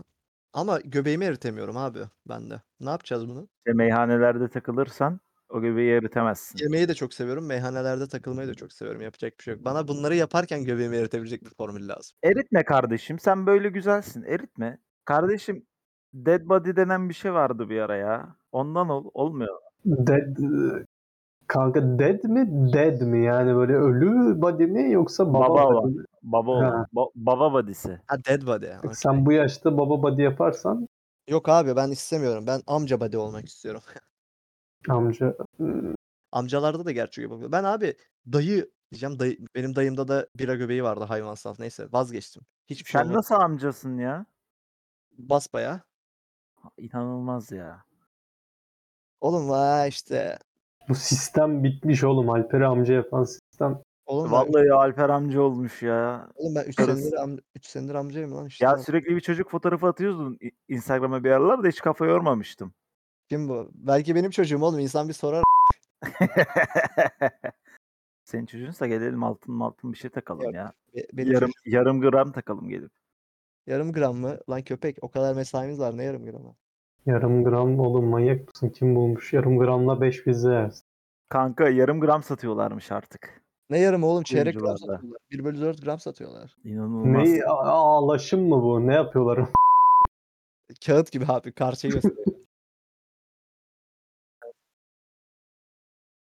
B: Ama göbeğimi eritemiyorum abi ben de. Ne yapacağız bunu?
A: İşte meyhanelerde takılırsan O göbeği eritemezsin.
B: Yemeği de çok seviyorum. Meyhanelerde takılmayı da çok seviyorum. Yapacak bir şey yok. Bana bunları yaparken göbeğimi eritebilecek bir formül lazım.
A: Eritme kardeşim. Sen böyle güzelsin. Eritme. Kardeşim dead body denen bir şey vardı bir ara ya. Ondan ol. Olmuyor.
C: Dead e, kanka dead mi dead mi yani böyle ölü body mi yoksa baba,
A: Baba
C: body mi?
A: Baba
C: Ha.
A: olan. ba- baba badisi.
B: Ha dead body. ya, okey.
C: Sen bu yaşta baba body yaparsan
B: Yok abi ben istemiyorum. Ben amca body olmak istiyorum.
C: amca hmm,
B: Amcalarda da gerçi yapabiliyor. Ben abi dayı diyeceğim. Dayı, benim dayımda da bira göbeği vardı hayvan saf. Neyse vazgeçtim. Hiçbir şey
A: Sen
B: olmadı.
A: nasıl amcasın ya?
B: Basbayağı.
A: İnanılmaz ya.
B: Oğlum vay işte.
C: bu sistem bitmiş oğlum Alper'i amca yapan sistem.
B: Oğlum ben,
A: Vallahi Alper amca olmuş ya.
B: oğlum ben 3
A: karısı-
B: senedir, am, üç senedir amcayım lan işte.
A: Ya sürekli bir çocuk fotoğrafı atıyordun i- Instagram'a bir aralar da hiç kafa yormamıştım.
B: Kim bu? Belki benim çocuğum oğlum. İnsan bir sorar.
A: Senin çocuğunsa gelelim altın altın bir şey takalım
B: Yok,
A: ya.
B: Be- Benim
A: Yarım
B: çocuğum
A: yarım gram takalım gelip.
B: yarım gram mı? Lan köpek o kadar mesaimiz var ne yarım gramı?
C: Yarım gram oğlum manyak mısın? Kim bulmuş? Yarım gramla 5 pizza yersin.
A: Kanka yarım gram satıyorlarmış artık.
B: Ne yarım oğlum çeyrek gram
A: Oyuncularda.
B: satıyorlar. 1 bölü 4 gram satıyorlar.
A: İnanılmaz.
C: Ne a- ağlaşım mı bu? Ne yapıyorlar?
B: Kağıt gibi abi karşıyı gösteriyor.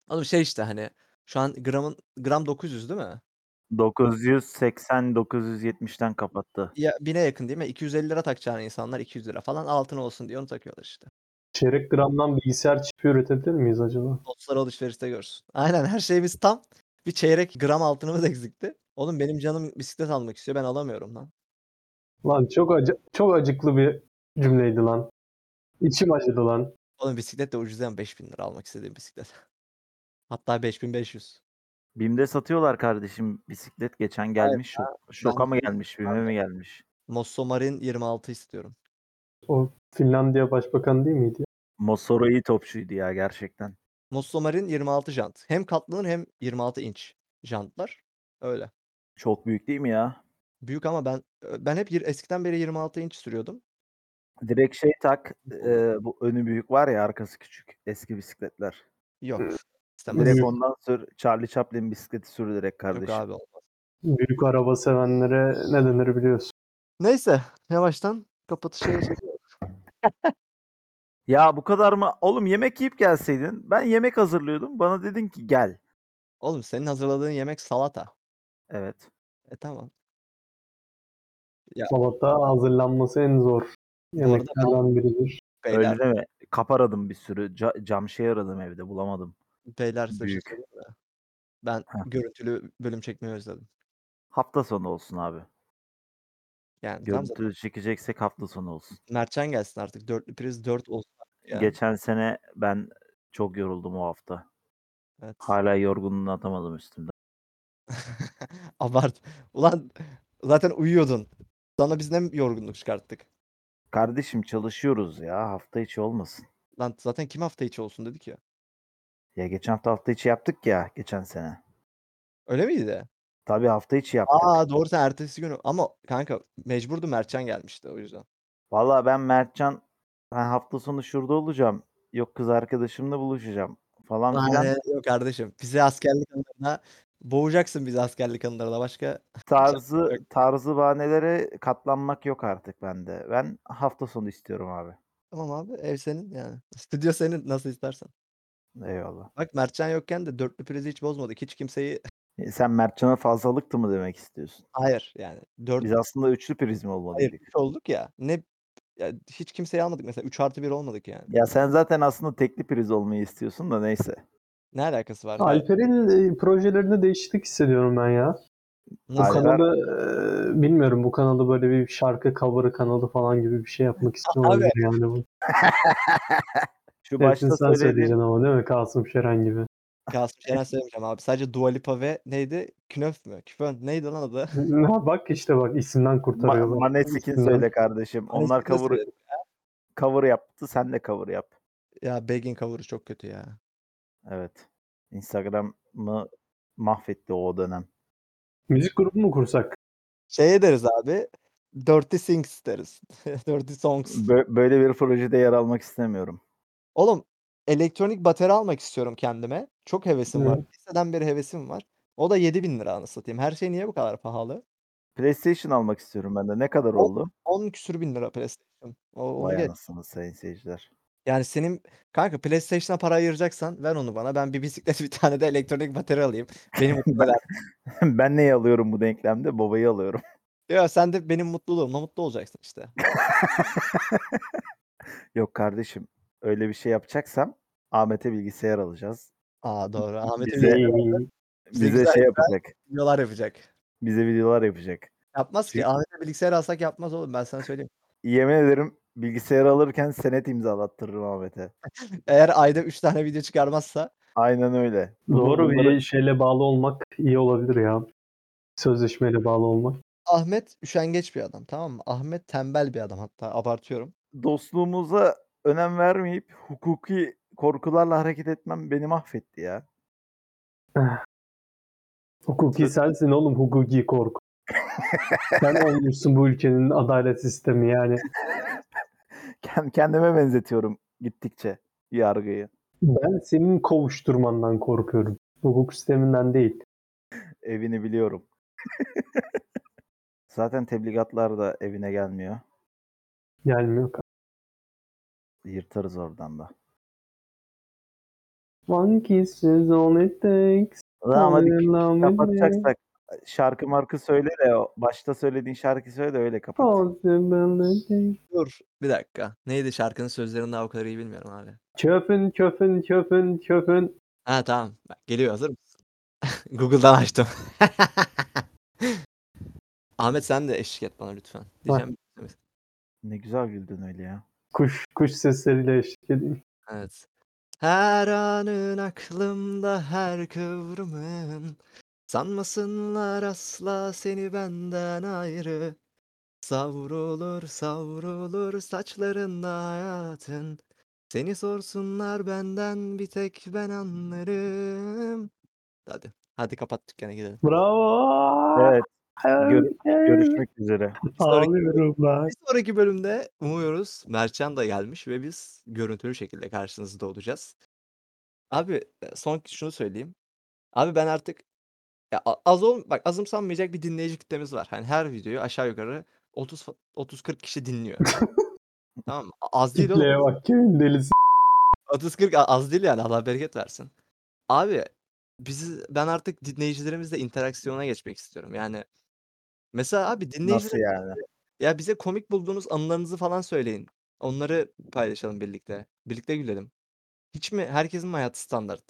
B: oğlum şey işte hani şu an gramın gram 900 değil mi?
A: 980-970'ten kapattı.
B: Ya bine yakın değil mi? 250 lira takacağın insanlar 200 lira falan altın olsun diye onu takıyorlar işte.
C: Çeyrek gramdan bilgisayar çipi üretebilir miyiz acaba?
B: Dostlar alışverişte görsün. Aynen her şeyimiz tam. Bir çeyrek gram altınımız eksikti. Oğlum benim canım bisiklet almak istiyor. Ben alamıyorum lan.
C: Lan çok acı çok acıklı bir cümleydi lan. İçim acıdı lan.
B: Oğlum bisiklet de ucuz yani 5000 lira almak istediğim bisiklet. Hatta 5500.
A: BİM'de satıyorlar kardeşim bisiklet geçen gelmiş. şok- Şoka
B: ben-
A: mı gelmiş, BİM'e mi gelmiş?
B: Mossomarin 26 istiyorum.
C: Finlandiya Başbakanı değil miydi?
A: Mosoro iyi topçuydu ya gerçekten.
B: Mossomarin 26 jant. Hem katlanır hem 26 inç jantlar. Öyle.
A: Çok büyük değil mi ya?
B: Büyük ama ben ben hep yir- eskiden beri 26 inç sürüyordum.
A: Direkt şey tak, e, bu önü büyük var ya arkası küçük eski bisikletler.
B: Yok. istemez.
A: Direkt
C: Büyük.
A: ondan sür, Charlie Chaplin bisikleti sür direkt
B: Yok
A: kardeşim.
B: abi olmaz.
C: Büyük araba sevenlere ne denir biliyorsun.
B: Neyse yavaştan kapatışa geçelim.
A: Ya bu kadar mı? Oğlum yemek yiyip gelseydin. Ben yemek hazırlıyordum. Bana dedin ki gel.
B: Oğlum senin hazırladığın yemek salata.
A: Evet.
B: E tamam.
C: Salata hazırlanması en zor
B: arada
C: yemeklerden biridir.
A: Öyle
B: Beyler,
A: deme. Kapar aradım bir sürü. Ca- cam şey aradım evde bulamadım.
B: beyler size bir şey
A: büyük.
B: söyleyeyim mi? Ben
A: Heh.
B: görüntülü bölüm çekmeyi özledim.
A: Hafta sonu olsun
B: E,
A: abi.
B: Yani tam da
A: Görüntü çekeceksek hafta sonu olsun.
B: Mertcan gelsin artık. Dörtlü priz dört olsun. artık yani.
A: Geçen sene ben çok yoruldum o hafta.
B: Evet.
A: Hala yorgunluğunu atamadım üstümden.
B: Abart. Ulan zaten uyuyordun. Sana biz ne yorgunluk çıkarttık?
A: Kardeşim çalışıyoruz ya. Hafta içi olmasın.
B: Lan zaten kim hafta içi olsun dedik ya.
A: Ya geçen hafta hafta içi yaptık ya geçen sene.
B: Öyle miydi?
A: Tabii hafta içi yaptık.
B: Aa doğru sen ertesi günü. Ama kanka mecburdu Mertcan gelmişti o yüzden.
A: Valla ben Mertcan ben hafta sonu şurada olacağım. Yok kız arkadaşımla buluşacağım falan filan.
B: Ee, yok kardeşim. Bizi askerlik anılarına boğacaksın bizi askerlik anılarına. Başka
A: Tarzı tarzı bahanelere katlanmak yok artık bende. Ben hafta sonu istiyorum abi.
B: tamam abi ev senin yani. Stüdyo senin nasıl istersen.
A: Eyvallah.
B: Bak Mertcan yokken de dörtlü prizi hiç bozmadık. Hiç kimseyi
A: E, Sen Mertcan'a fazlalıktı mı demek istiyorsun?
B: hayır yani. Dört
A: Biz aslında üçlü prizm
B: hayır
A: olmalıydık.
B: üç olduk ya. Ne ya hiç kimseyi almadık mesela 3 artı 1 olmadık yani.
A: Ya sen zaten aslında tekli priz olmayı istiyorsun da neyse.
B: Ne alakası
A: Ee,
B: var? Hayır.
C: Alper'in e, projelerinde değişiklik hissediyorum ben ya. Bu
A: Alper-
B: Nasıl?
C: kanalı e, bilmiyorum bu kanalı böyle bir şarkı cover'ı kanalı falan gibi bir şey yapmak istiyorum
B: Abi.
C: yani bu.
A: Şu
C: Hepsini
A: başta
C: sen
A: söylediğin
C: söyleyeceksin ama değil mi Kasım Şeren gibi?
B: Kasım Şener söylemeyeceğim abi. Sadece Dua Lipa ve neydi? Knöf mü? Küfön neydi lan adı?
C: Ha, bak işte bak isimden kurtarıyorlar.
A: Ma- Maneskin
C: İsimden.
A: söyle kardeşim. Onlar
B: Neyse, ne
A: cover,
B: söyledim?
A: cover yaptı. Sen de cover yap.
B: Ya Begin cover'ı çok kötü ya.
A: Evet. Instagram'ı mahvetti o dönem.
C: Müzik grubu mu kursak?
B: Şey ederiz abi. Dirty Things deriz. Dirty Songs.
A: Bö- böyle bir projede yer almak istemiyorum.
B: Oğlum elektronik bateri almak istiyorum kendime. Çok hevesim var. Liseden beri hevesim var. O da 7000 lira anasını satayım. Her şey niye bu kadar pahalı?
A: PlayStation almak istiyorum ben de. Ne kadar
B: O-
A: oldu?
B: 10 küsür bin lira PlayStation. O, onu
A: Vay
B: geç.
A: anasını sayın seyirciler.
B: Yani senin kanka PlayStation'a para ayıracaksan ver onu bana. Ben bir bisiklet bir tane de elektronik bateri alayım. Benim mutlu eder.
A: ben neyi alıyorum bu denklemde? Babayı alıyorum.
B: Ya sen de benim mutluluğumla mutlu olacaksın işte.
A: Yok kardeşim öyle bir şey yapacaksam Ahmet'e bilgisayar alacağız.
B: Aa doğru. Ahmet'e
A: Bize-
B: video- Bize
A: Bize
B: güzel-
A: şey yapacak.
B: videolar yapacak.
A: Bize videolar yapacak.
B: Yapmaz ki.
A: Çünkü-
B: Ahmet'e bilgisayar alsak yapmaz oğlum. Ben sana söyleyeyim.
A: Yemin ederim bilgisayar alırken senet imzalattırırım Ahmet'e.
B: Eğer ayda 3 tane video çıkarmazsa
A: Aynen öyle.
C: Doğru
A: Bunları-
C: bir şeyle bağlı olmak iyi olabilir ya. Sözleşmeyle bağlı olmak.
B: Ahmet üşengeç bir adam tamam mı? Ahmet tembel bir adam hatta abartıyorum.
A: dostluğumuza önem vermeyip hukuki korkularla hareket etmem beni mahvetti ya.
C: Hukuki sensin oğlum hukuki korku. Sen olmuşsun bu ülkenin adalet sistemi yani.
A: Kend- Kendime benzetiyorum gittikçe yargıyı.
C: Ben senin kovuşturmandan korkuyorum. Hukuk sisteminden değil.
A: Evini biliyorum. Zaten tebligatlar da evine gelmiyor.
C: Gelmiyor.
A: Yırtarız oradan da.
C: One kiss is all it takes.
A: Ama
C: Fall in love with me.
A: kapatacaksak şarkı markı söyle de o başta söylediğin şarkı söyle de öyle kapat.
C: Possibility.
B: Dur bir dakika. Neydi şarkının sözlerini daha o kadar iyi bilmiyorum abi.
C: Çöpün çöpün çöpün çöpün.
B: Ha tamam. Bak, Geliyor hazır mısın? Google'dan açtım. Ahmet sen de eşlik et bana lütfen. Diyeceğim.
A: Ne güzel güldün öyle ya.
C: Kuş kuş sesleriyle eşlik edeyim.
B: Evet. Her anın aklımda her kıvrımın Sanmasınlar asla seni benden ayrı Savrulur savrulur saçlarında hayatın Seni sorsunlar benden bir tek ben anlarım Hadi hadi kapat dükkanı gidelim.
C: Bravo.
A: Evet gör-
C: Hey.
A: görüşmek üzere.
C: Ağlıyorum lan.
B: Bir sonraki bölümde umuyoruz Mertcan da gelmiş ve biz görüntülü şekilde karşınızda olacağız. Abi e, son şunu söyleyeyim. Abi ben artık ya a- az ol bak azımsanmayacak bir dinleyici kitlemiz var. Hani her videoyu aşağı yukarı 30 fa- 30 40 kişi dinliyor. tamam mı? A- Az değil
C: Kitleye
B: oğlum.
C: bak kimin delisi.
B: 30 40 a- az değil yani Allah bereket versin. Abi bizi ben artık dinleyicilerimizle interaksiyona geçmek istiyorum. Yani mesela abi dinleyiciler
A: Nasıl yani?
B: ya bize komik bulduğunuz anılarınızı falan söyleyin. Onları paylaşalım birlikte. Birlikte gülelim. Hiç mi herkesin mi hayatı standart?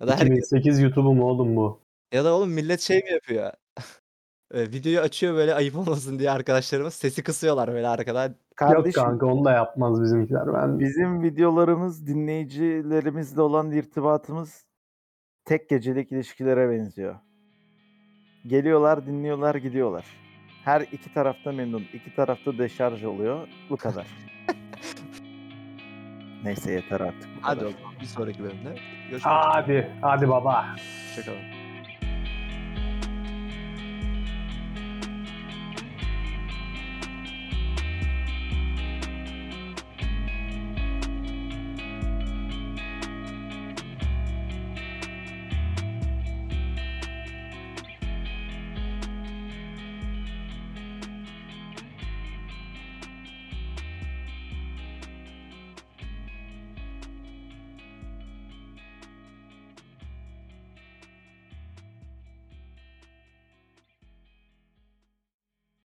B: Ya da herkes
C: 2008 YouTube'u mu oğlum bu?
B: ya da oğlum millet şey mi yapıyor? E, videoyu açıyor böyle ayıp olmasın diye arkadaşlarımız sesi kısıyorlar böyle arkadan.
C: Yok
A: Kardeşim
C: kanka onu da yapmaz bizimkiler. Ben
A: Bizim videolarımız dinleyicilerimizle olan irtibatımız tek gecelik ilişkilere benziyor. Geliyorlar, dinliyorlar, gidiyorlar. Her iki tarafta memnun, iki tarafta deşarj oluyor. Bu kadar. Neyse yeter artık bu
B: Hadi
A: kadar.
B: o zaman bir sonraki bölümde görüşmek üzere.
C: Abi hadi baba.
B: Hoşçakalın.